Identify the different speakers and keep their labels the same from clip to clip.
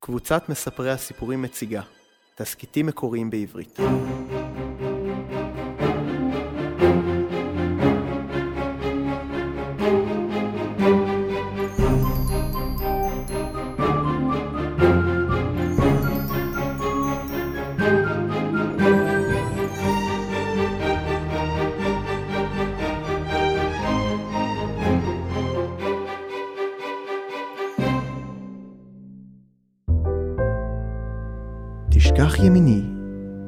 Speaker 1: קבוצת מספרי הסיפורים מציגה תסכיתים מקוריים בעברית. תשכח ימיני,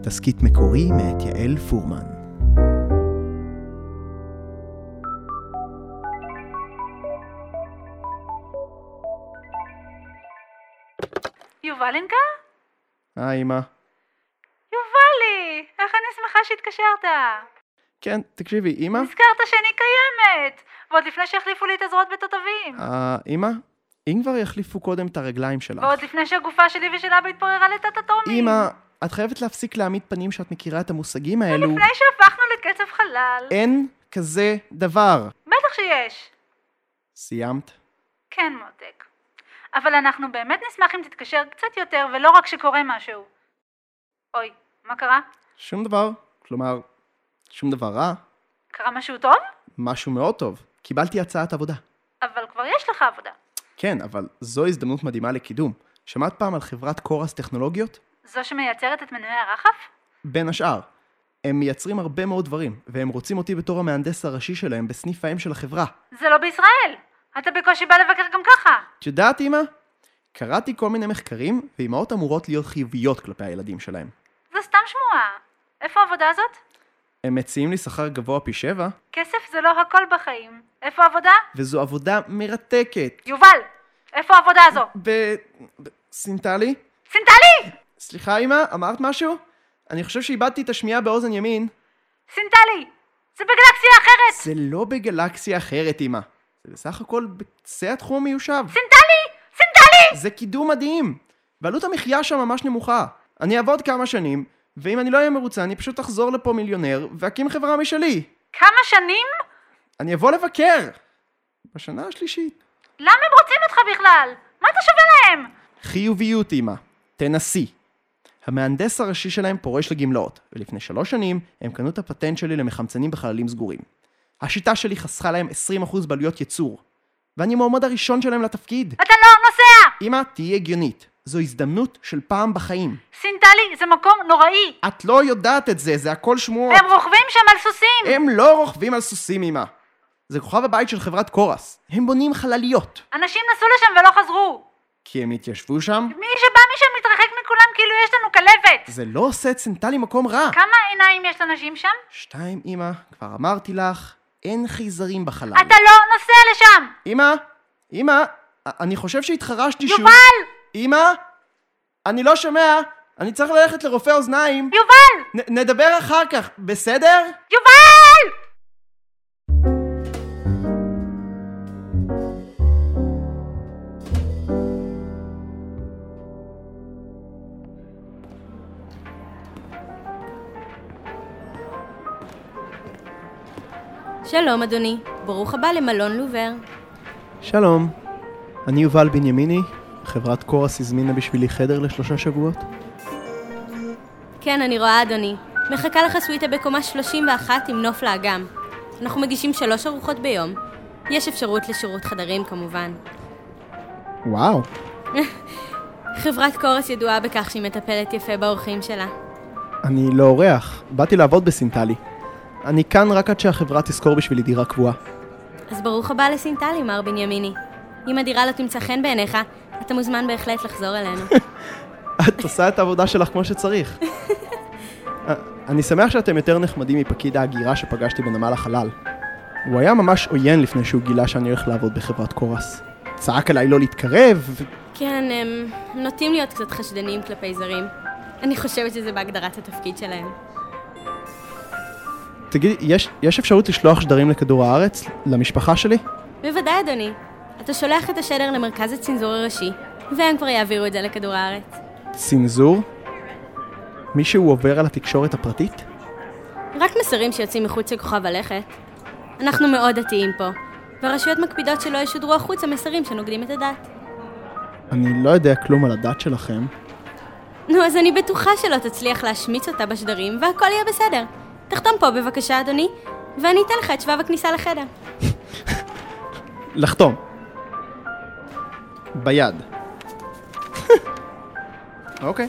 Speaker 1: תסכית מקורי מאת יעל פורמן.
Speaker 2: יובלינקה?
Speaker 1: היי, אמא.
Speaker 2: יובלי! איך אני שמחה שהתקשרת!
Speaker 1: כן, תקשיבי, אמא?
Speaker 2: נזכרת שאני קיימת! ועוד לפני שהחליפו לי את הזרועות בתותבים!
Speaker 1: אה, אמא? אם כבר יחליפו קודם את הרגליים שלך.
Speaker 2: ועוד לפני שהגופה שלי ושל אבא התפוררה לטטטומים!
Speaker 1: אמא, את חייבת להפסיק להעמיד פנים שאת מכירה את המושגים האלו.
Speaker 2: לפני שהפכנו לקצב חלל!
Speaker 1: אין כזה דבר.
Speaker 2: בטח שיש!
Speaker 1: סיימת?
Speaker 2: כן, מותק. אבל אנחנו באמת נשמח אם תתקשר קצת יותר, ולא רק שקורה משהו. אוי, מה קרה?
Speaker 1: שום דבר. כלומר, שום דבר רע.
Speaker 2: קרה משהו טוב?
Speaker 1: משהו מאוד טוב. קיבלתי הצעת עבודה.
Speaker 2: אבל כבר יש לך עבודה.
Speaker 1: כן, אבל זו הזדמנות מדהימה לקידום. שמעת פעם על חברת קורס טכנולוגיות?
Speaker 2: זו שמייצרת את מנועי הרחף?
Speaker 1: בין השאר. הם מייצרים הרבה מאוד דברים, והם רוצים אותי בתור המהנדס הראשי שלהם בסניף האם של החברה.
Speaker 2: זה לא בישראל! אתה בקושי בא לבקר גם ככה!
Speaker 1: את יודעת, אמא? קראתי כל מיני מחקרים, ואימהות אמורות להיות חיוביות כלפי הילדים שלהם.
Speaker 2: זו סתם שמועה. איפה העבודה הזאת?
Speaker 1: הם מציעים לי שכר גבוה פי שבע,
Speaker 2: כסף זה לא הכל בחיים. איפה העבודה?
Speaker 1: וזו עבודה מרתקת.
Speaker 2: יובל! איפה העבודה הזו?
Speaker 1: ב... ב... סינטלי?
Speaker 2: סינטלי!
Speaker 1: סליחה, אמא, אמרת משהו? אני חושב שאיבדתי את השמיעה באוזן ימין.
Speaker 2: סינטלי! זה בגלקסיה אחרת!
Speaker 1: זה לא בגלקסיה אחרת, אמא. זה בסך הכל בקצה התחום המיושב.
Speaker 2: סינטלי! סינטלי!
Speaker 1: זה קידום מדהים! ועלות המחיה שם ממש נמוכה. אני אעבוד כמה שנים, ואם אני לא אהיה מרוצה, אני פשוט אחזור לפה מיליונר, ואקים חברה משלי.
Speaker 2: כמה שנים?
Speaker 1: אני אבוא לבקר! בשנה השלישית.
Speaker 2: למה הם רוצים אותך בכלל? מה אתה שווה להם?
Speaker 1: חיוביות, אמא. תנסי. המהנדס הראשי שלהם פורש לגמלאות, ולפני שלוש שנים הם קנו את הפטנט שלי למחמצנים בחללים סגורים. השיטה שלי חסכה להם 20% בעלויות ייצור. ואני המועמד הראשון שלהם לתפקיד.
Speaker 2: אתה לא נוסע!
Speaker 1: אמא, תהיי הגיונית. זו הזדמנות של פעם בחיים.
Speaker 2: סינטלי זה מקום נוראי!
Speaker 1: את לא יודעת את זה, זה הכל שמועות.
Speaker 2: הם רוכבים שם על סוסים!
Speaker 1: הם לא רוכבים על סוסים, אמא. זה כוכב הבית של חברת קורס. הם בונים חלליות.
Speaker 2: אנשים נסעו לשם ולא חזרו!
Speaker 1: כי הם התיישבו שם?
Speaker 2: מי שבא משם מתרחק מכולם כאילו יש לנו כלבת!
Speaker 1: זה לא עושה את סנטלי מקום רע.
Speaker 2: כמה עיניים יש לנשים שם?
Speaker 1: שתיים, אמא, כבר אמרתי לך, אין חייזרים בחלל.
Speaker 2: אתה לא נוסע לשם!
Speaker 1: אמא, אמא, א- אני חושב שהתחרשתי שוב.
Speaker 2: יובל!
Speaker 1: אמא, אני לא שומע, אני צריך ללכת לרופא אוזניים.
Speaker 2: יובל!
Speaker 1: נ- נדבר אחר כך, בסדר?
Speaker 2: יובל!
Speaker 3: שלום אדוני, ברוך הבא למלון לובר.
Speaker 1: שלום, אני יובל בנימיני, חברת קורס הזמינה בשבילי חדר לשלושה שבועות.
Speaker 3: כן, אני רואה אדוני. מחכה לך סוויטה בקומה 31 עם נוף לאגם. אנחנו מגישים שלוש ארוחות ביום. יש אפשרות לשירות חדרים כמובן.
Speaker 1: וואו,
Speaker 3: חברת קורס ידועה בכך שהיא מטפלת יפה באורחים שלה.
Speaker 1: אני לא אורח, באתי לעבוד בסינטלי. אני כאן רק עד שהחברה תשכור בשבילי דירה קבועה.
Speaker 3: אז ברוך הבא לסינטלי, מר בנימיני. אם הדירה לא תמצא חן בעיניך, אתה מוזמן בהחלט לחזור אלינו.
Speaker 1: את עושה את העבודה שלך כמו שצריך. אה, אני שמח שאתם יותר נחמדים מפקיד ההגירה שפגשתי בנמל החלל. הוא היה ממש עוין לפני שהוא גילה שאני הולך לעבוד בחברת קורס. צעק עליי לא להתקרב, ו-
Speaker 3: כן, הם הם נוטים להיות קצת חשדניים כלפי זרים. אני חושבת שזה בהגדרת התפקיד שלהם.
Speaker 1: תגידי, יש, יש אפשרות לשלוח שדרים לכדור הארץ? למשפחה שלי?
Speaker 3: בוודאי, אדוני. אתה שולח את השדר למרכז הצנזור הראשי, והם כבר יעבירו את זה לכדור הארץ.
Speaker 1: צנזור? מישהו עובר על התקשורת הפרטית?
Speaker 3: רק מסרים שיוצאים מחוץ לכוכב הלכת. אנחנו מאוד דתיים פה, והרשויות מקפידות שלא ישודרו החוצה מסרים שנוגדים את הדת.
Speaker 1: אני לא יודע כלום על הדת שלכם.
Speaker 4: נו, אז אני בטוחה שלא תצליח להשמיץ אותה בשדרים, והכל יהיה בסדר. תחתום פה בבקשה, אדוני, ואני אתן לך את שבב הכניסה לחדר.
Speaker 1: לחתום. ביד. אוקיי.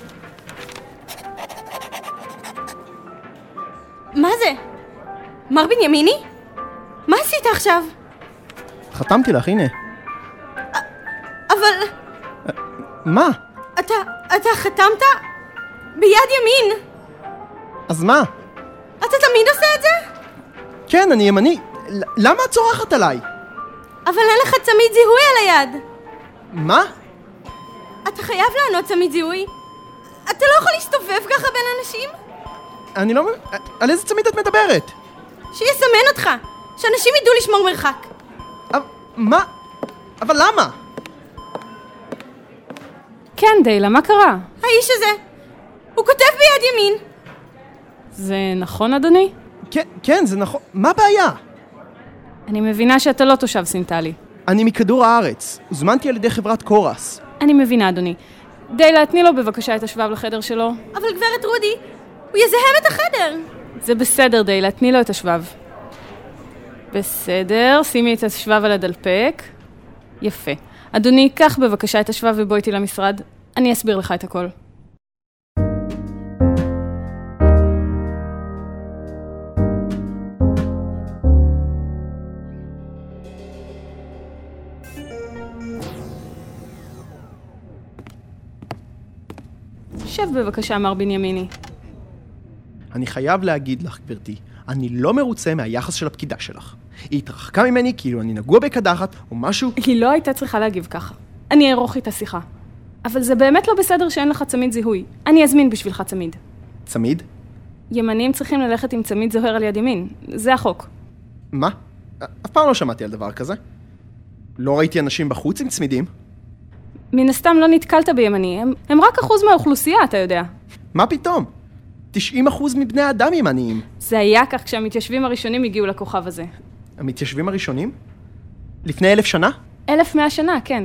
Speaker 4: מה זה? מר בנימיני? מה עשית עכשיו?
Speaker 1: חתמתי לך, הנה.
Speaker 4: אבל
Speaker 1: מה?
Speaker 4: אתה, אתה חתמת ביד ימין.
Speaker 1: אז מה?
Speaker 4: אתה תמיד עושה את זה?
Speaker 1: כן, אני ימני. ל- למה את צורחת עליי?
Speaker 4: אבל אין לך צמיד זיהוי על היד.
Speaker 1: מה?
Speaker 4: אתה חייב לענות צמיד זיהוי. אתה לא יכול להסתובב ככה בין אנשים?
Speaker 1: אני לא מבין... על איזה צמיד את מדברת?
Speaker 4: שיסמן אותך, שאנשים ידעו לשמור מרחק.
Speaker 1: אבל... מה? אבל למה?
Speaker 5: כן, דיילה, מה קרה?
Speaker 4: האיש הזה, הוא כותב ביד ימין.
Speaker 5: זה נכון, אדוני?
Speaker 1: כן, כן, זה נכון. מה הבעיה?
Speaker 5: אני מבינה שאתה לא תושב סינטלי.
Speaker 1: אני מכדור הארץ. הוזמנתי על ידי חברת קורס.
Speaker 5: אני מבינה, אדוני. דיילה, תני לו בבקשה את השבב לחדר שלו.
Speaker 4: אבל גברת רודי, הוא יזהם את החדר.
Speaker 5: זה בסדר, דיילה, תני לו את השבב. בסדר, שימי את השבב על הדלפק. יפה. אדוני, קח בבקשה את השבב ובוא איתי למשרד. אני אסביר לך את הכל. שב בבקשה, מר בנימיני.
Speaker 1: אני חייב להגיד לך, גברתי, אני לא מרוצה מהיחס של הפקידה שלך. היא התרחקה ממני כאילו אני נגוע בקדחת או משהו...
Speaker 5: היא לא הייתה צריכה להגיב ככה. אני אערוך איתה שיחה. אבל זה באמת לא בסדר שאין לך צמיד זיהוי. אני אזמין בשבילך צמיד.
Speaker 1: צמיד?
Speaker 5: ימנים צריכים ללכת עם צמיד זוהר על יד ימין. זה החוק.
Speaker 1: מה? אף פעם לא שמעתי על דבר כזה. לא ראיתי אנשים בחוץ עם צמידים.
Speaker 5: מן הסתם לא נתקלת בימני, הם, הם רק אחוז מהאוכלוסייה, אתה יודע.
Speaker 1: מה פתאום? 90% מבני האדם הם עניים.
Speaker 5: זה היה כך כשהמתיישבים הראשונים הגיעו לכוכב הזה.
Speaker 1: המתיישבים הראשונים? לפני אלף שנה?
Speaker 5: 1100 שנה, כן.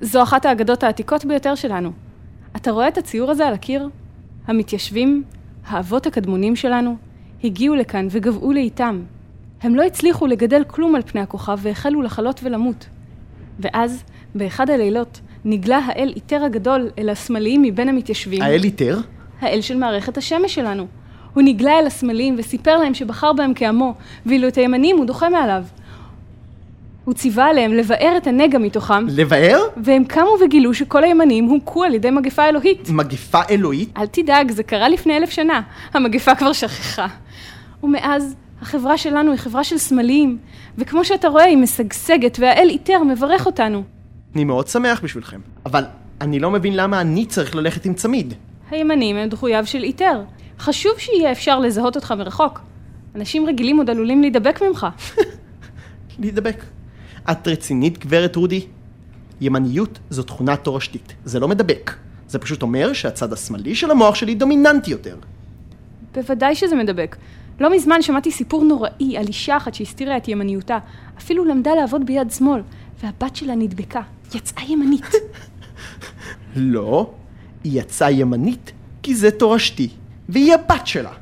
Speaker 5: זו אחת האגדות העתיקות ביותר שלנו. אתה רואה את הציור הזה על הקיר? המתיישבים, האבות הקדמונים שלנו, הגיעו לכאן וגבעו לאיתם. הם לא הצליחו לגדל כלום על פני הכוכב והחלו לחלות ולמות. ואז, באחד הלילות, נגלה האל איתר הגדול אל השמאליים מבין המתיישבים.
Speaker 1: האל איתר?
Speaker 5: האל של מערכת השמש שלנו. הוא נגלה אל הסמלים וסיפר להם שבחר בהם כעמו, ואילו את הימנים הוא דוחה מעליו. הוא ציווה עליהם לבער את הנגע מתוכם,
Speaker 1: לבאר?
Speaker 5: והם קמו וגילו שכל הימנים הוכו על ידי מגפה אלוהית.
Speaker 1: מגפה אלוהית?
Speaker 5: אל תדאג, זה קרה לפני אלף שנה. המגפה כבר שכחה. ומאז, החברה שלנו היא חברה של סמלים, וכמו שאתה רואה, היא משגשגת, והאל איתר מברך אותנו.
Speaker 1: אני מאוד שמח בשבילכם. אבל אני לא מבין למה אני צריך ללכת עם צמיד.
Speaker 5: הימנים הם דחוייו של איתר. חשוב שיהיה אפשר לזהות אותך מרחוק. אנשים רגילים עוד עלולים להידבק ממך.
Speaker 1: להידבק. את רצינית, גברת רודי? ימניות זו תכונה תורשתית, זה לא מדבק. זה פשוט אומר שהצד השמאלי של המוח שלי דומיננטי יותר.
Speaker 5: בוודאי שזה מדבק. לא מזמן שמעתי סיפור נוראי על אישה אחת שהסתירה את ימניותה. אפילו למדה לעבוד ביד שמאל, והבת שלה נדבקה. יצאה ימנית.
Speaker 1: לא, היא יצאה ימנית כי זה תורשתי, והיא הבת שלה.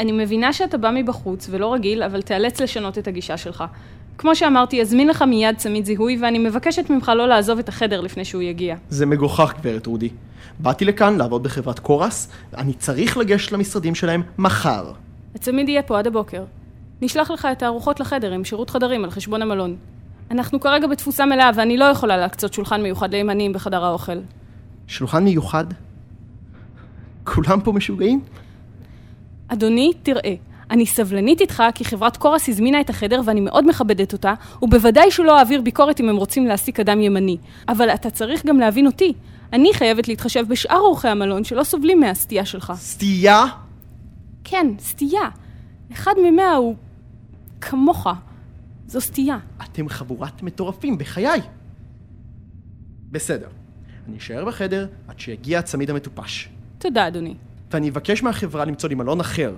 Speaker 5: אני מבינה שאתה בא מבחוץ ולא רגיל, אבל תיאלץ לשנות את הגישה שלך. כמו שאמרתי, אזמין לך מיד צמיד זיהוי, ואני מבקשת ממך לא לעזוב את החדר לפני שהוא יגיע.
Speaker 1: זה מגוחך, גברת רודי. באתי לכאן לעבוד בחברת קורס, אני צריך לגשת למשרדים שלהם מחר.
Speaker 5: הצמיד יהיה פה עד הבוקר. נשלח לך את הארוחות לחדר עם שירות חדרים על חשבון המלון. אנחנו כרגע בתפוסה מלאה ואני לא יכולה להקצות שולחן מיוחד לימנים בחדר האוכל.
Speaker 1: שולחן מיוחד? כולם פה משוגעים?
Speaker 5: אדוני, תראה, אני סבלנית איתך כי חברת קורס הזמינה את החדר ואני מאוד מכבדת אותה, ובוודאי שלא אעביר ביקורת אם הם רוצים להעסיק אדם ימני. אבל אתה צריך גם להבין אותי. אני חייבת להתחשב בשאר אורחי המלון שלא סובלים מהסטייה שלך.
Speaker 1: סטייה?
Speaker 5: כן, סטייה. אחד ממאה הוא... כמוך. זו סטייה.
Speaker 1: אתם חבורת מטורפים, בחיי. בסדר, אני אשאר בחדר עד שיגיע הצמיד המטופש.
Speaker 5: תודה, אדוני.
Speaker 1: ואני אבקש מהחברה למצוא לי מלון אחר.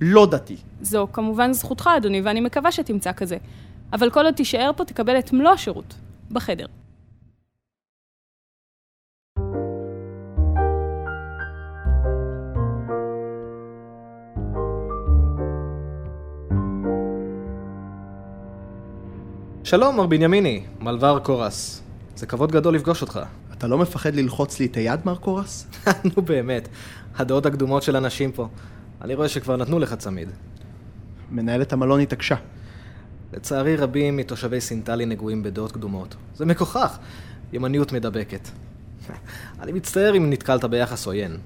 Speaker 1: לא דתי.
Speaker 5: זו כמובן זכותך, אדוני, ואני מקווה שתמצא כזה. אבל כל עוד תישאר פה, תקבל את מלוא השירות. בחדר.
Speaker 6: שלום, מר בנימיני, מלבר קורס. זה כבוד גדול לפגוש אותך.
Speaker 1: אתה לא מפחד ללחוץ לי את היד, מר קורס?
Speaker 6: נו באמת, הדעות הקדומות של אנשים פה. אני רואה שכבר נתנו לך צמיד.
Speaker 1: מנהלת המלון התעקשה.
Speaker 6: לצערי רבים מתושבי סינטלי נגועים בדעות קדומות. זה מגוחך, ימניות מדבקת. אני מצטער אם נתקלת ביחס עוין.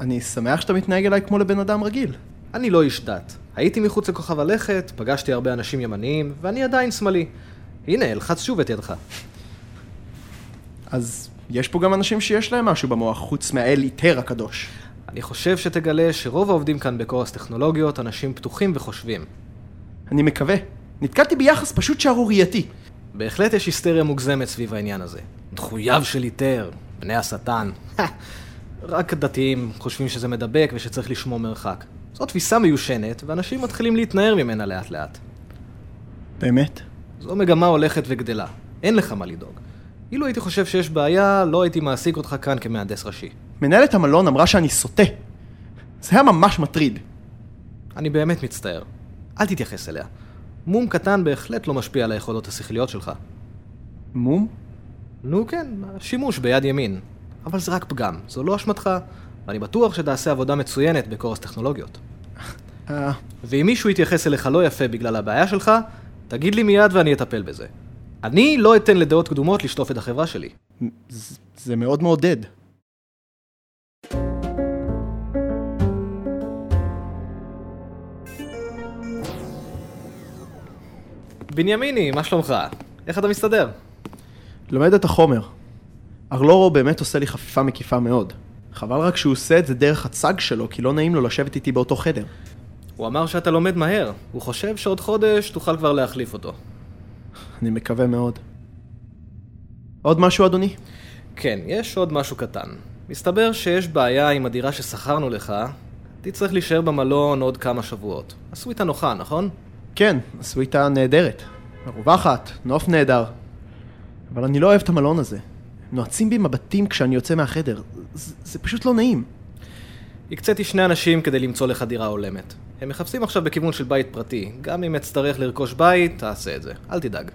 Speaker 1: אני שמח שאתה מתנהג אליי כמו לבן אדם רגיל.
Speaker 6: אני לא איש דת. הייתי מחוץ לכוכב הלכת, פגשתי הרבה אנשים ימניים, ואני עדיין שמאלי. הנה, אלחץ שוב את ידך.
Speaker 1: אז יש פה גם אנשים שיש להם משהו במוח, חוץ מהאל איתר הקדוש.
Speaker 6: אני חושב שתגלה שרוב העובדים כאן בקורס טכנולוגיות אנשים פתוחים וחושבים.
Speaker 1: אני מקווה. נתקלתי ביחס פשוט שערורייתי.
Speaker 6: בהחלט יש היסטריה מוגזמת סביב העניין הזה. דחוייו של היתר, בני השטן. רק דתיים חושבים שזה מדבק ושצריך לשמור מרחק. זו תפיסה מיושנת, ואנשים מתחילים להתנער ממנה לאט לאט.
Speaker 1: באמת?
Speaker 6: זו מגמה הולכת וגדלה. אין לך מה לדאוג. אילו הייתי חושב שיש בעיה, לא הייתי מעסיק אותך כאן כמהנדס ראשי.
Speaker 1: מנהלת המלון אמרה שאני סוטה. זה היה ממש מטריד.
Speaker 6: אני באמת מצטער. אל תתייחס אליה. מום קטן בהחלט לא משפיע על היכולות השכליות שלך.
Speaker 1: מום?
Speaker 6: נו כן, שימוש ביד ימין. אבל זה רק פגם, זו לא אשמתך, ואני בטוח שתעשה עבודה מצוינת בקורס טכנולוגיות.
Speaker 1: אה,
Speaker 6: ואם מישהו יתייחס אליך לא יפה בגלל הבעיה שלך, תגיד לי מיד ואני אטפל בזה. אני לא אתן לדעות קדומות לשטוף את החברה שלי.
Speaker 1: זה- זה מאוד מעודד.
Speaker 6: בנימיני, מה שלומך? איך אתה מסתדר?
Speaker 1: לומד את החומר. ארלורו באמת עושה לי חפיפה מקיפה מאוד. חבל רק שהוא עושה את זה דרך הצג שלו, כי לא נעים לו לשבת איתי באותו חדר.
Speaker 6: הוא אמר שאתה לומד מהר, הוא חושב שעוד חודש תוכל כבר להחליף אותו.
Speaker 1: אני מקווה מאוד. עוד משהו, אדוני?
Speaker 6: כן, יש עוד משהו קטן. מסתבר שיש בעיה עם הדירה ששכרנו לך, תצטרך להישאר במלון עוד כמה שבועות. עשו איתה נוחה, נכון?
Speaker 1: כן, עשו איתה נהדרת. מרווחת, נוף נהדר. אבל אני לא אוהב את המלון הזה. נועצים בי מבטים כשאני יוצא מהחדר. זה, זה פשוט לא נעים.
Speaker 6: הקציתי שני אנשים כדי למצוא לך דירה הולמת. הם מחפשים עכשיו בכיוון של בית פרטי. גם אם אצטרך לרכוש בית, תעשה את זה. אל תדאג.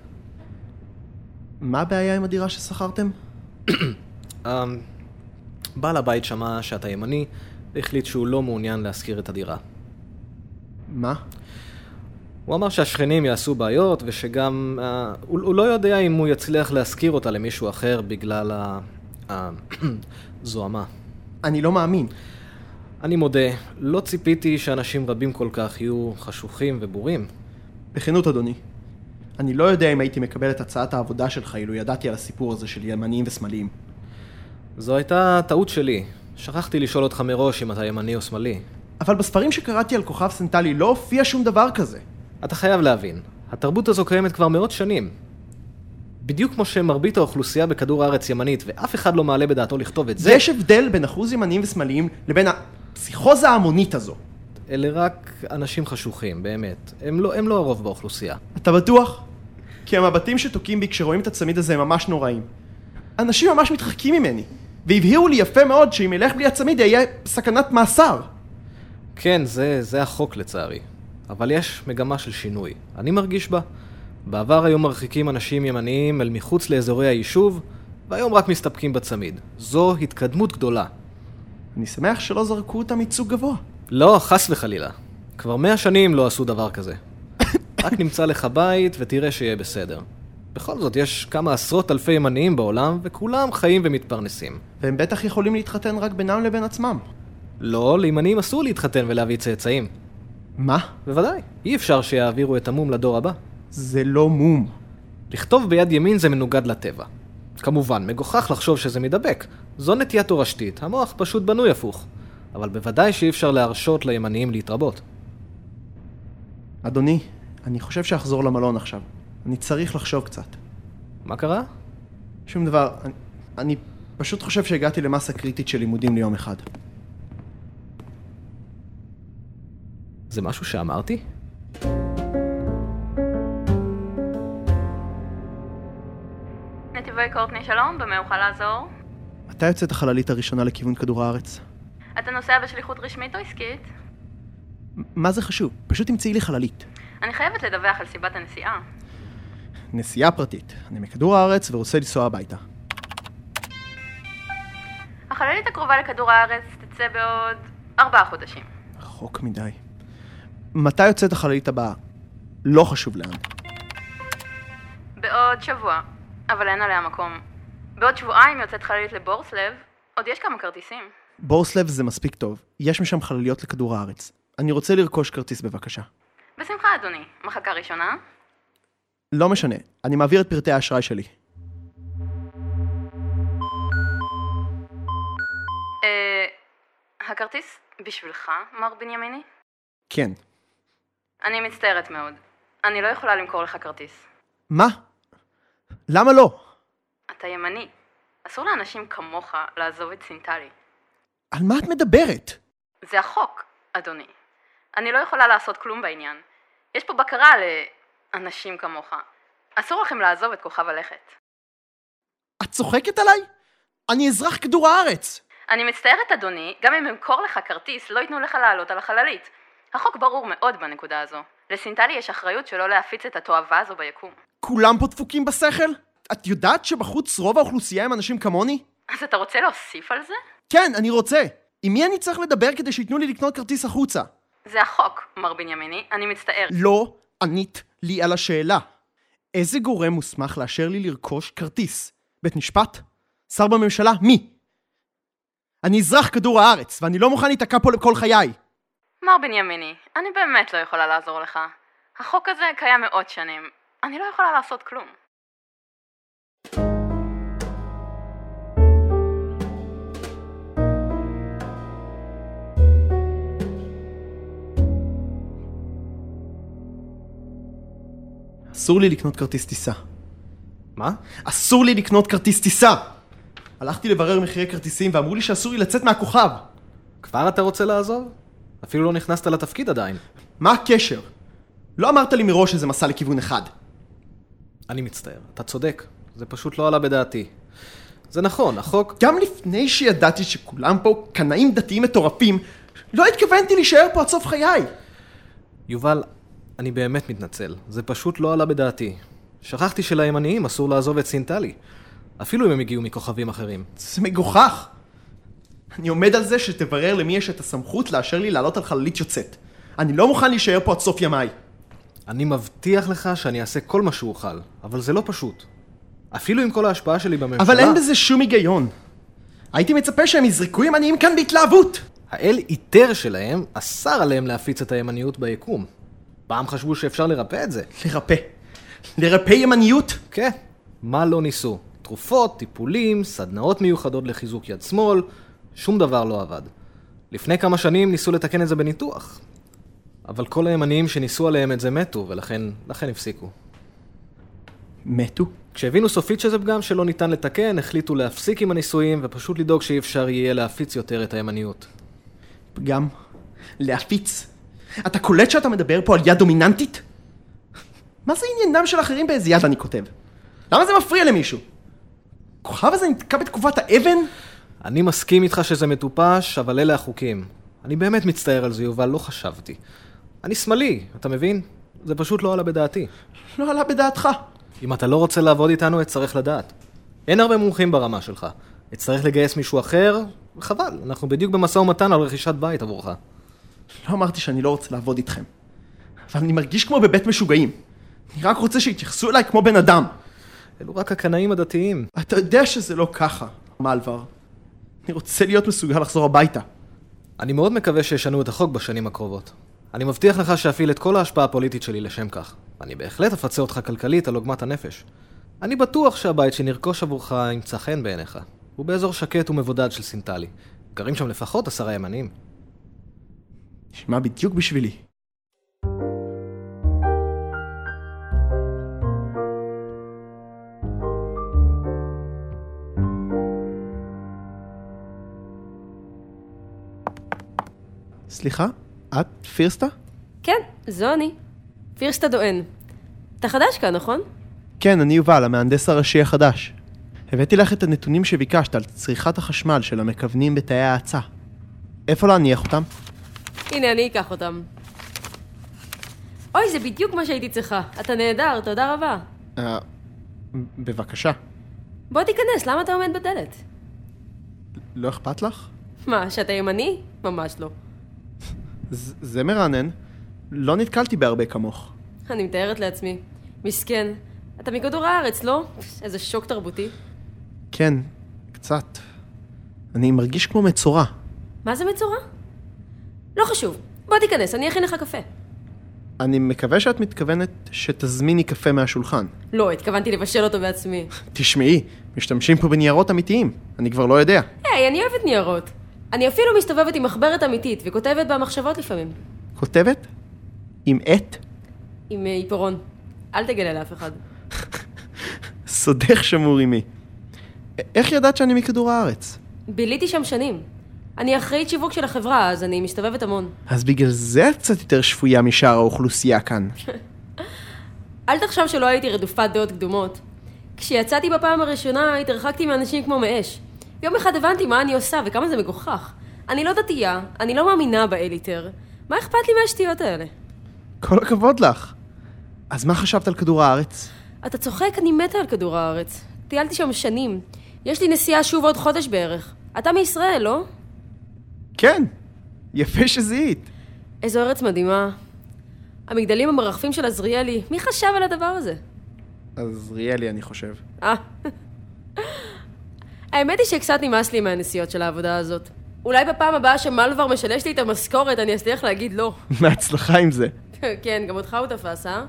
Speaker 1: מה הבעיה עם הדירה ששכרתם?
Speaker 6: אמ... בעל הבית שמע שאתה ימני, והחליט שהוא לא מעוניין להשכיר את הדירה.
Speaker 1: מה?
Speaker 6: הוא אמר שהשכנים יעשו בעיות, ושגם... אה, הוא, הוא לא יודע אם הוא יצליח להשכיר אותה למישהו אחר בגלל ה... ה- זוהמה.
Speaker 1: אני לא מאמין.
Speaker 6: אני מודה, לא ציפיתי שאנשים רבים כל כך יהיו חשוכים ובורים.
Speaker 1: בכנות, אדוני. אני לא יודע אם הייתי מקבל את הצעת העבודה שלך אילו ידעתי על הסיפור הזה של ימניים ושמאליים.
Speaker 6: זו הייתה טעות שלי. שכחתי לשאול אותך מראש אם אתה ימני או שמאלי.
Speaker 1: אבל בספרים שקראתי על כוכב סנטלי לא הופיע שום דבר כזה.
Speaker 6: אתה חייב להבין, התרבות הזו קיימת כבר מאות שנים. בדיוק כמו שמרבית האוכלוסייה בכדור הארץ ימנית, ואף אחד לא מעלה בדעתו לכתוב את זה,
Speaker 1: ויש הבדל בין אחוז ימניים ושמאליים לבין הפסיכוזה ההמונית הזו.
Speaker 6: אלה רק אנשים חשוכים, באמת. הם לא, הם לא הרוב באוכלוסייה.
Speaker 1: אתה בטוח? כי המבטים שתוקעים בי כשרואים את הצמיד הזה הם ממש נוראים. אנשים ממש מתרחקים ממני, והבהירו לי יפה מאוד שאם אלך בלי הצמיד אהיה סכנת מאסר.
Speaker 6: כן, זה, זה החוק לצערי. אבל יש מגמה של שינוי. אני מרגיש בה. בעבר היו מרחיקים אנשים ימניים אל מחוץ לאזורי היישוב, והיום רק מסתפקים בצמיד. זו התקדמות גדולה.
Speaker 1: אני שמח שלא זרקו אותם מייצוג גבוה.
Speaker 6: לא, חס וחלילה. כבר מאה שנים לא עשו דבר כזה. רק נמצא לך בית ותראה שיהיה בסדר. בכל זאת, יש כמה עשרות אלפי ימניים בעולם, וכולם חיים ומתפרנסים.
Speaker 1: והם בטח יכולים להתחתן רק בינם לבין עצמם.
Speaker 6: לא, לימנים אסור להתחתן ולהביא צאצאים.
Speaker 1: מה?
Speaker 6: בוודאי, אי אפשר שיעבירו את המום לדור הבא.
Speaker 1: זה לא מום.
Speaker 6: לכתוב ביד ימין זה מנוגד לטבע. כמובן, מגוחך לחשוב שזה מידבק. זו נטייה תורשתית, המוח פשוט בנוי הפוך. אבל בוודאי שאי אפשר להרשות לימניים להתרבות.
Speaker 1: אדוני, אני חושב שאחזור למלון עכשיו. אני צריך לחשוב קצת.
Speaker 6: מה קרה?
Speaker 1: שום דבר, אני, אני פשוט חושב שהגעתי למסה קריטית של לימודים ליום אחד.
Speaker 6: זה משהו שאמרתי?
Speaker 2: נתיבי קורטני שלום, במה אוכל לעזור?
Speaker 1: מתי יוצאת החללית הראשונה לכיוון כדור הארץ?
Speaker 2: אתה נוסע בשליחות רשמית או עסקית?
Speaker 1: מ- מה זה חשוב? פשוט תמצאי לי חללית.
Speaker 2: אני חייבת לדווח על סיבת הנסיעה.
Speaker 1: נסיעה פרטית. אני מכדור הארץ ורוצה לנסוע הביתה.
Speaker 2: החללית הקרובה לכדור הארץ תצא בעוד ארבעה חודשים.
Speaker 1: רחוק מדי. מתי יוצאת החללית הבאה? לא חשוב לאן.
Speaker 2: בעוד שבוע, אבל אין עליה מקום. בעוד שבועיים יוצאת חללית לבורסלב, עוד יש כמה כרטיסים.
Speaker 1: בורסלב זה מספיק טוב, יש משם חלליות לכדור הארץ. אני רוצה לרכוש כרטיס בבקשה.
Speaker 2: בשמחה, אדוני. מחלקה ראשונה?
Speaker 1: לא משנה, אני מעביר את פרטי האשראי שלי.
Speaker 2: אה... הכרטיס בשבילך, מר בנימיני?
Speaker 1: כן.
Speaker 2: אני מצטערת מאוד. אני לא יכולה למכור לך כרטיס.
Speaker 1: מה? למה לא?
Speaker 2: אתה ימני. אסור לאנשים כמוך לעזוב את סינטלי.
Speaker 1: על מה את מדברת?
Speaker 2: זה החוק, אדוני. אני לא יכולה לעשות כלום בעניין. יש פה בקרה לאנשים כמוך. אסור לכם לעזוב את כוכב הלכת.
Speaker 1: את צוחקת עליי? אני אזרח כדור הארץ!
Speaker 2: אני מצטערת, אדוני, גם אם אמכור לך כרטיס, לא ייתנו לך לעלות על החללית. החוק ברור מאוד בנקודה הזו. לסינטלי יש אחריות שלא להפיץ את התועבה הזו ביקום.
Speaker 1: כולם פה דפוקים בשכל? את יודעת שבחוץ רוב האוכלוסייה הם אנשים כמוני?
Speaker 2: אז אתה רוצה להוסיף על זה?
Speaker 1: כן, אני רוצה. עם מי אני צריך לדבר כדי שייתנו לי לקנות כרטיס החוצה?
Speaker 2: זה החוק, מר בנימיני, אני מצטערת.
Speaker 1: לא ענית לי על השאלה. איזה גורם מוסמך לאשר לי לרכוש כרטיס? בית משפט? שר בממשלה? מי? אני אזרח כדור הארץ, ואני לא מוכן להיתקע פה לכל חיי.
Speaker 2: מר בנימיני, אני באמת לא יכולה לעזור לך. החוק הזה קיים מאות שנים. אני לא יכולה לעשות כלום.
Speaker 1: אסור לי לקנות כרטיס טיסה.
Speaker 6: מה?
Speaker 1: אסור לי לקנות כרטיס טיסה! הלכתי לברר מחירי כרטיסים ואמרו לי שאסור לי לצאת מהכוכב!
Speaker 6: כבר אתה רוצה לעזוב? אפילו לא נכנסת לתפקיד עדיין.
Speaker 1: מה הקשר? לא אמרת לי מראש שזה מסע לכיוון אחד.
Speaker 6: אני מצטער, אתה צודק. זה פשוט לא עלה בדעתי. זה נכון, החוק...
Speaker 1: גם לפני שידעתי שכולם פה קנאים דתיים מטורפים, לא התכוונתי להישאר פה עד סוף חיי!
Speaker 6: יובל, אני באמת מתנצל. זה פשוט לא עלה בדעתי. שכחתי שלימניים אסור לעזוב את סינטלי. אפילו אם הם הגיעו מכוכבים אחרים.
Speaker 1: זה מגוחך! אני עומד על זה שתברר למי יש את הסמכות לאשר לי לעלות על חללית יוצאת. אני לא מוכן להישאר פה עד סוף ימיי.
Speaker 6: אני מבטיח לך שאני אעשה כל מה שאוכל, אבל זה לא פשוט. אפילו עם כל ההשפעה שלי בממשלה...
Speaker 1: אבל אין בזה שום היגיון. הייתי מצפה שהם יזרקו ימניים כאן בהתלהבות!
Speaker 6: האל איתר שלהם אסר עליהם להפיץ את הימניות ביקום. פעם חשבו שאפשר לרפא את זה.
Speaker 1: לרפא. לרפא ימניות?
Speaker 6: כן, מה לא ניסו? תרופות, טיפולים, סדנאות מיוחדות לחיזוק יד שמאל, שום דבר לא עבד. לפני כמה שנים ניסו לתקן את זה בניתוח. אבל כל הימניים שניסו עליהם את זה מתו, ולכן לכן הפסיקו.
Speaker 1: מתו?
Speaker 6: כשהבינו סופית שזה פגם שלא ניתן לתקן, החליטו להפסיק עם הניסויים ופשוט לדאוג שאי אפשר יהיה להפיץ יותר את הימניות.
Speaker 1: פגם. להפיץ. אתה קולט שאתה מדבר פה על יד דומיננטית? מה זה עניינם של אחרים באיזה יד אני כותב? למה זה מפריע למישהו? הכוכב הזה נתקע בתקופת האבן?
Speaker 6: אני מסכים איתך שזה מטופש, אבל אלה החוקים. אני באמת מצטער על זה, יובל, לא חשבתי. אני שמאלי, אתה מבין? זה פשוט לא עלה בדעתי.
Speaker 1: לא עלה בדעתך.
Speaker 6: אם אתה לא רוצה לעבוד איתנו, אצטרך לדעת. אין הרבה מומחים ברמה שלך. אצטרך לגייס מישהו אחר, חבל, אנחנו בדיוק במשא ומתן על רכישת בית עבורך.
Speaker 1: לא אמרתי שאני לא רוצה לעבוד איתכם. אבל אני מרגיש כמו בבית משוגעים. אני רק רוצה שיתייחסו אליי כמו בן אדם.
Speaker 6: אלו רק הקנאים הדתיים.
Speaker 1: אתה יודע שזה לא ככה, מלvar. אני רוצה להיות מסוגל לחזור הביתה.
Speaker 6: אני מאוד מקווה שישנו את החוק בשנים הקרובות. אני מבטיח לך שאפעיל את כל ההשפעה הפוליטית שלי לשם כך. אני בהחלט אפצה אותך כלכלית על עוגמת הנפש. אני בטוח שהבית שנרכוש עבורך ימצא חן בעיניך. הוא באזור שקט ומבודד של סינטלי. גרים שם לפחות עשרה ימנים.
Speaker 1: נשמע בדיוק בשבילי. סליחה, את פירסטה?
Speaker 3: כן, זו אני. פירסטה דואן. אתה חדש כאן, נכון?
Speaker 1: כן, אני יובל, המהנדס הראשי החדש. הבאתי לך את הנתונים שביקשת על צריכת החשמל של המכוונים בתאי ההאצה. איפה להניח אותם?
Speaker 3: הנה, אני אקח אותם. אוי, זה בדיוק מה שהייתי צריכה. אתה נהדר, תודה רבה.
Speaker 1: אה, בבקשה.
Speaker 3: בוא תיכנס, למה אתה עומד בדלת?
Speaker 1: לא אכפת לך?
Speaker 3: מה, שאתה ימני? ממש לא.
Speaker 1: ז- זה מרענן. לא נתקלתי בהרבה כמוך.
Speaker 3: אני מתארת לעצמי. מסכן. אתה מכדור הארץ, לא? איזה שוק תרבותי.
Speaker 1: כן, קצת. אני מרגיש כמו מצורע.
Speaker 3: מה זה מצורע? לא חשוב. בוא תיכנס, אני אכין לך קפה.
Speaker 1: אני מקווה שאת מתכוונת שתזמיני קפה מהשולחן.
Speaker 3: לא, התכוונתי לבשל אותו בעצמי.
Speaker 1: תשמעי, משתמשים פה בניירות אמיתיים. אני כבר לא יודע.
Speaker 3: היי, אני אוהבת ניירות. אני אפילו מסתובבת עם מחברת אמיתית וכותבת בה מחשבות לפעמים.
Speaker 1: כותבת? עם עט?
Speaker 3: עם אה, עיפרון. אל תגלה לאף אחד.
Speaker 1: סודך שמור עימי. א- איך ידעת שאני מכדור הארץ?
Speaker 3: ביליתי שם שנים. אני אחראית שיווק של החברה, אז אני מסתובבת המון.
Speaker 1: אז בגלל זה את קצת יותר שפויה משאר האוכלוסייה כאן.
Speaker 3: אל תחשוב שלא הייתי רדופת דעות קדומות. כשיצאתי בפעם הראשונה, התרחקתי מאנשים כמו מאש. יום אחד הבנתי מה אני עושה וכמה זה מגוחך. אני לא דתייה, אני לא מאמינה באליטר. מה אכפת לי מהשטויות האלה?
Speaker 1: כל הכבוד לך. אז מה חשבת על כדור הארץ?
Speaker 3: אתה צוחק, אני מתה על כדור הארץ. טיילתי שם שנים. יש לי נסיעה שוב עוד חודש בערך. אתה מישראל, לא?
Speaker 1: כן, יפה שזיהית.
Speaker 3: איזו ארץ מדהימה. המגדלים המרחפים של עזריאלי, מי חשב על הדבר הזה?
Speaker 1: אז ריאלי, אני חושב.
Speaker 3: אה. האמת היא שקצת נמאס לי מהנסיעות של העבודה הזאת. אולי בפעם הבאה שמלvar משלש לי את המשכורת, אני אצליח להגיד לא.
Speaker 1: בהצלחה עם זה.
Speaker 3: כן, גם אותך הוא תפס, אה?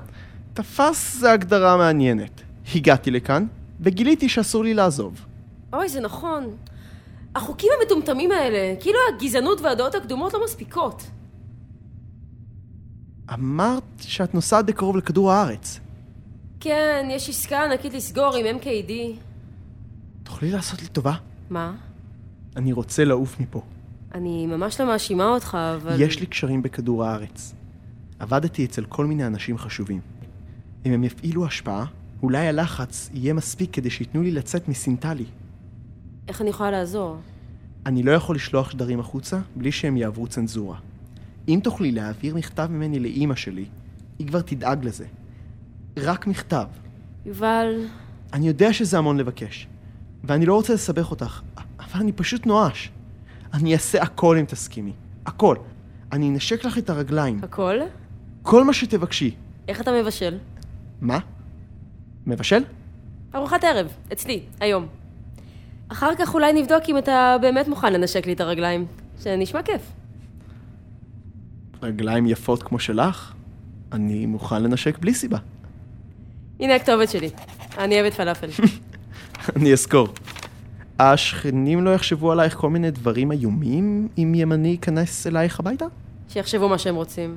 Speaker 1: תפס זה הגדרה מעניינת. הגעתי לכאן, וגיליתי שאסור לי לעזוב.
Speaker 3: אוי, זה נכון. החוקים המטומטמים האלה, כאילו הגזענות והדעות הקדומות לא מספיקות.
Speaker 1: אמרת שאת נוסעת בקרוב לכדור הארץ.
Speaker 3: כן, יש עסקה ענקית לסגור עם MKD.
Speaker 1: תוכלי לעשות לי טובה?
Speaker 3: מה?
Speaker 1: אני רוצה לעוף מפה.
Speaker 3: אני ממש לא מאשימה אותך, אבל...
Speaker 1: יש לי קשרים בכדור הארץ. עבדתי אצל כל מיני אנשים חשובים. אם הם יפעילו השפעה, אולי הלחץ יהיה מספיק כדי שייתנו לי לצאת מסינטלי.
Speaker 3: איך אני יכולה לעזור?
Speaker 1: אני לא יכול לשלוח שדרים החוצה בלי שהם יעברו צנזורה. אם תוכלי להעביר מכתב ממני לאימא שלי, היא כבר תדאג לזה. רק מכתב.
Speaker 3: יובל,
Speaker 1: אני יודע שזה המון לבקש, ואני לא רוצה לסבך אותך, אבל אני פשוט נואש. אני אעשה הכל אם תסכימי. הכל. אני אנשק לך את הרגליים.
Speaker 3: הכל?
Speaker 1: כל מה שתבקשי.
Speaker 3: איך אתה מבשל?
Speaker 1: מה? מבשל?
Speaker 3: ארוחת ערב, אצלי, היום. אחר כך אולי נבדוק אם אתה באמת מוכן לנשק לי את הרגליים. זה נשמע כיף.
Speaker 1: רגליים יפות כמו שלך? אני מוכן לנשק בלי סיבה.
Speaker 3: הנה הכתובת שלי. אני אוהבת פלאפל.
Speaker 1: אני אזכור. השכנים לא יחשבו עלייך כל מיני דברים איומים אם ימני ייכנס אלייך הביתה?
Speaker 3: שיחשבו מה שהם רוצים.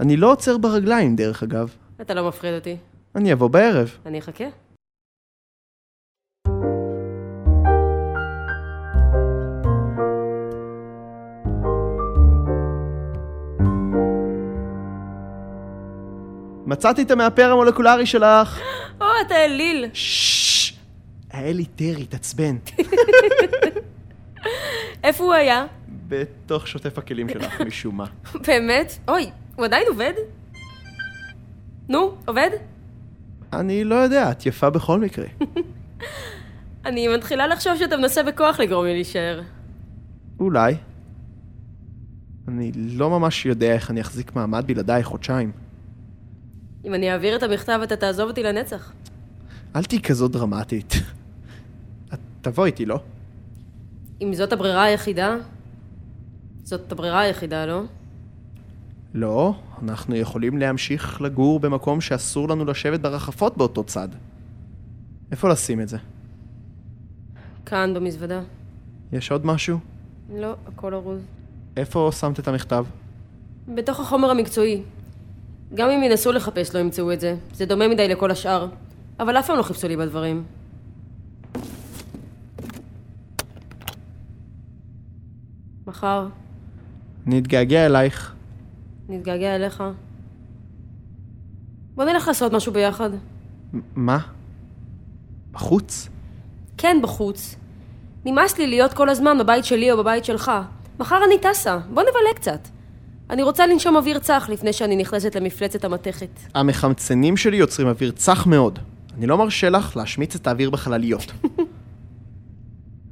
Speaker 1: אני לא עוצר ברגליים, דרך אגב.
Speaker 3: אתה לא מפחיד אותי.
Speaker 1: אני אבוא בערב.
Speaker 3: אני אחכה.
Speaker 1: מצאתי את המאפר המולקולרי שלך!
Speaker 3: או, אתה אליל.
Speaker 1: ששש! האלי טרי, התעצבן.
Speaker 3: איפה הוא היה?
Speaker 1: בתוך שוטף הכלים שלך, משום מה.
Speaker 3: באמת? אוי, הוא עדיין עובד? נו, עובד?
Speaker 1: אני לא יודע, את יפה בכל מקרה.
Speaker 3: אני מתחילה לחשוב שאתה מנסה בכוח לגרום לי להישאר.
Speaker 1: אולי. אני לא ממש יודע איך אני אחזיק מעמד בלעדיי חודשיים.
Speaker 3: אם אני אעביר את המכתב, אתה תעזוב אותי לנצח.
Speaker 1: אל תהיי כזו דרמטית. את תבוא איתי, לא?
Speaker 3: אם זאת הברירה היחידה... זאת הברירה היחידה, לא?
Speaker 1: לא, אנחנו יכולים להמשיך לגור במקום שאסור לנו לשבת ברחפות באותו צד. איפה לשים את זה?
Speaker 3: כאן במזוודה.
Speaker 1: יש עוד משהו?
Speaker 3: לא, הכל ארוז.
Speaker 1: איפה שמת את המכתב?
Speaker 3: בתוך החומר המקצועי. גם אם ינסו לחפש לא ימצאו את זה. זה דומה מדי לכל השאר. אבל אף פעם לא חיפשו לי בדברים. מחר
Speaker 1: אני אתגעגע אלייך.
Speaker 3: נתגעגע אליך. בוא נלך לעשות משהו ביחד.
Speaker 1: מ- מה? בחוץ?
Speaker 3: כן, בחוץ. נמאס לי להיות כל הזמן בבית שלי או בבית שלך. מחר אני טסה, בוא נבלה קצת. אני רוצה לנשום אוויר צח לפני שאני נכנסת למפלצת המתכת.
Speaker 1: המחמצנים שלי יוצרים אוויר צח מאוד. אני לא מרשה לך להשמיץ את האוויר בחלליות.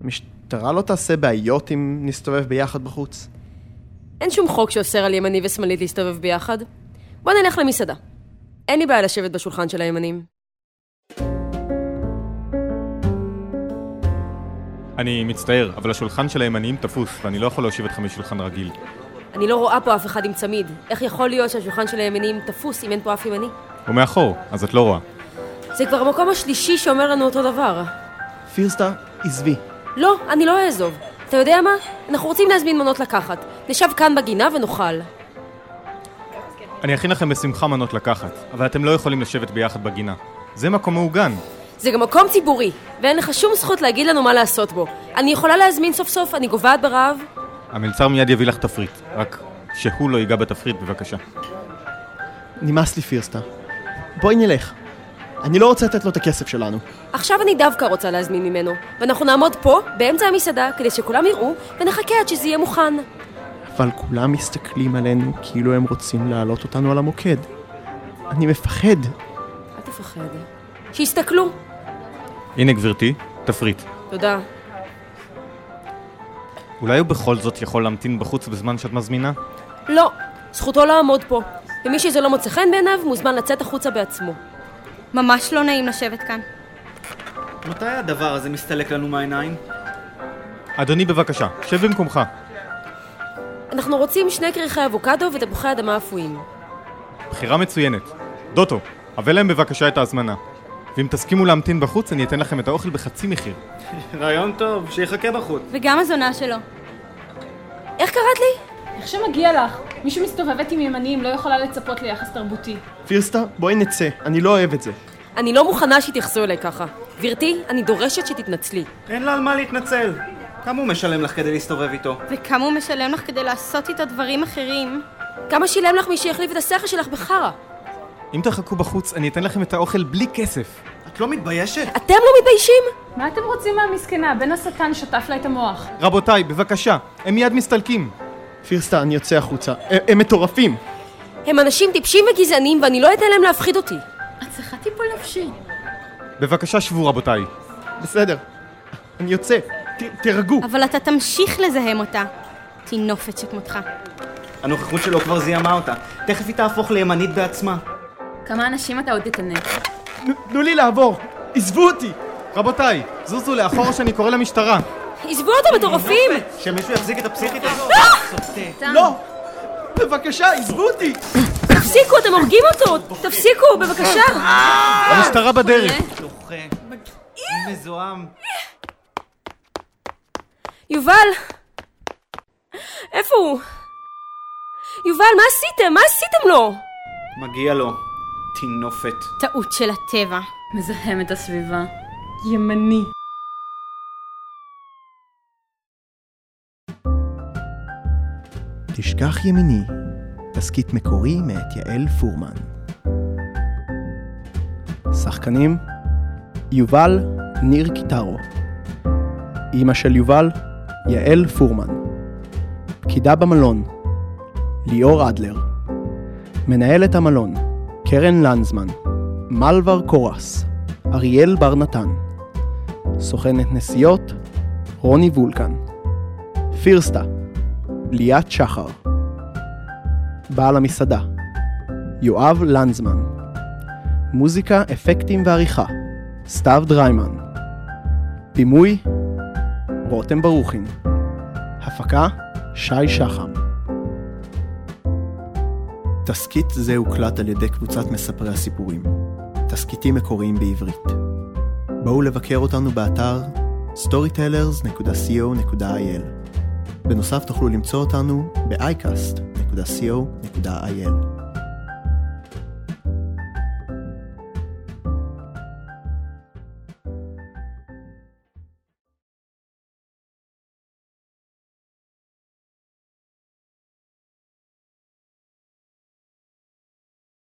Speaker 1: המשטרה לא תעשה בעיות אם נסתובב ביחד בחוץ?
Speaker 3: אין שום חוק שאוסר על ימני ושמאלית להסתובב ביחד. בוא נלך למסעדה. אין לי בעיה לשבת בשולחן של הימנים.
Speaker 7: אני מצטער, אבל השולחן של הימניים תפוס, ואני לא יכול להושיב אתכם בשולחן רגיל.
Speaker 3: אני לא רואה פה אף אחד עם צמיד. איך יכול להיות שהשולחן של הימנים תפוס אם אין פה אף ימני?
Speaker 7: הוא מאחור, אז את לא רואה.
Speaker 3: זה כבר המקום השלישי שאומר לנו אותו דבר.
Speaker 1: פירסטה, עזבי.
Speaker 3: לא, אני לא אעזוב. אתה יודע מה? אנחנו רוצים להזמין מנות לקחת. נשב כאן בגינה ונאכל.
Speaker 7: אני אכין לכם בשמחה מנות לקחת, אבל אתם לא יכולים לשבת ביחד בגינה. זה מקום מעוגן.
Speaker 3: זה גם מקום ציבורי, ואין לך שום זכות להגיד לנו מה לעשות בו. אני יכולה להזמין סוף סוף, אני גוועת ברעב.
Speaker 7: המלצר מיד יביא לך תפריט, רק שהוא לא ייגע בתפריט בבקשה.
Speaker 1: נמאס לי פירסטה. בואי נלך. אני לא רוצה לתת לו את הכסף שלנו.
Speaker 3: עכשיו אני דווקא רוצה להזמין ממנו, ואנחנו נעמוד פה, באמצע המסעדה, כדי שכולם יראו, ונחכה עד שזה יהיה מוכן.
Speaker 1: אבל כולם מסתכלים עלינו כאילו הם רוצים להעלות אותנו על המוקד. אני מפחד.
Speaker 3: אל תפחד. שיסתכלו.
Speaker 7: הנה גברתי, תפריט.
Speaker 3: תודה.
Speaker 7: אולי הוא בכל זאת יכול להמתין בחוץ בזמן שאת מזמינה?
Speaker 3: לא, זכותו לעמוד פה, ומי שזה לא מוצא חן בעיניו, מוזמן לצאת החוצה בעצמו.
Speaker 4: ממש לא נעים לשבת כאן.
Speaker 8: מתי הדבר הזה מסתלק לנו מהעיניים?
Speaker 7: אדוני בבקשה, שב במקומך.
Speaker 3: אנחנו רוצים שני כריכי אבוקדו ותפוחי אדמה אפויים.
Speaker 7: בחירה מצוינת. דוטו, הבא להם בבקשה את ההזמנה. ואם תסכימו להמתין בחוץ, אני אתן לכם את האוכל בחצי מחיר.
Speaker 8: רעיון טוב, שיחכה בחוץ.
Speaker 4: וגם הזונה שלו.
Speaker 3: איך קראת לי?
Speaker 5: איך שמגיע לך? מי שמסתובבת עם ימנים לא יכולה לצפות ליחס תרבותי.
Speaker 1: פירסטה, בואי נצא, אני לא אוהב את זה.
Speaker 3: אני לא מוכנה שיתייחסו אליי ככה. גברתי, אני דורשת שתתנצלי.
Speaker 8: אין לה על מה להתנצל. כמה הוא משלם לך כדי להסתובב איתו?
Speaker 4: וכמה הוא משלם לך כדי לעשות איתו דברים אחרים?
Speaker 3: כמה שילם לך מי שהחליף את השכל שלך בחרא?
Speaker 7: אם תחכו בחוץ, אני אתן לכם את האוכל בלי כסף.
Speaker 8: את לא מתביישת?
Speaker 3: אתם לא מתביישים?
Speaker 5: מה אתם רוצים מהמסכנה? בן השטן שטף לה את המוח.
Speaker 7: רבותיי, בבקשה, הם מיד מסתלקים.
Speaker 1: פירסטה, אני יוצא החוצה. אה, הם, הם מטורפים.
Speaker 3: הם אנשים טיפשים וגזענים, ואני לא אתן להם להפחיד אותי.
Speaker 5: את צריכה טיפול נפשי.
Speaker 7: בבקשה שבו רבותיי.
Speaker 1: בסדר. אני יוצא. ת, תירגעו.
Speaker 4: אבל אתה תמשיך לזהם אותה. טינופת שכמותך.
Speaker 8: הנוכחות שלו כבר זיהמה אותה. תכף היא תהפוך לימנית בעצמה.
Speaker 9: כמה אנשים אתה עוד תטנף?
Speaker 1: ת- תנו לי לעבור. עזבו אותי.
Speaker 7: רבותיי, זוזו לאחור שאני קורא למשטרה.
Speaker 3: עזבו אותו מטורפים!
Speaker 8: שמישהו יחזיק את הפסיכית הזאת? סוטה.
Speaker 1: לא! בבקשה, עזבו אותי!
Speaker 3: תפסיקו, אתם הורגים אותו! תפסיקו, בבקשה!
Speaker 7: המשטרה בדרך.
Speaker 8: לוחם. מזוהם.
Speaker 3: יובל! איפה הוא? יובל, מה עשיתם? מה עשיתם לו?
Speaker 8: מגיע לו. טינופת.
Speaker 4: טעות של הטבע.
Speaker 9: מזהם את הסביבה.
Speaker 5: ימני.
Speaker 1: תשכח ימיני, תסכית מקורי מאת יעל פורמן. שחקנים יובל ניר קיטרו. אימא של יובל יעל פורמן. פקידה במלון ליאור אדלר. מנהלת המלון קרן לנזמן. מלבר קורס. אריאל בר נתן. סוכנת נסיעות רוני וולקן. פירסטה ליאת שחר. בעל המסעדה, יואב לנזמן. מוזיקה, אפקטים ועריכה, סתיו דריימן. בימוי, רותם ברוכין. הפקה, שי שחם. תסכית זה הוקלט על ידי קבוצת מספרי הסיפורים. תסכיתים מקוריים בעברית. בואו לבקר אותנו באתר storytellers.co.il בנוסף תוכלו למצוא אותנו ב-iCast.co.il.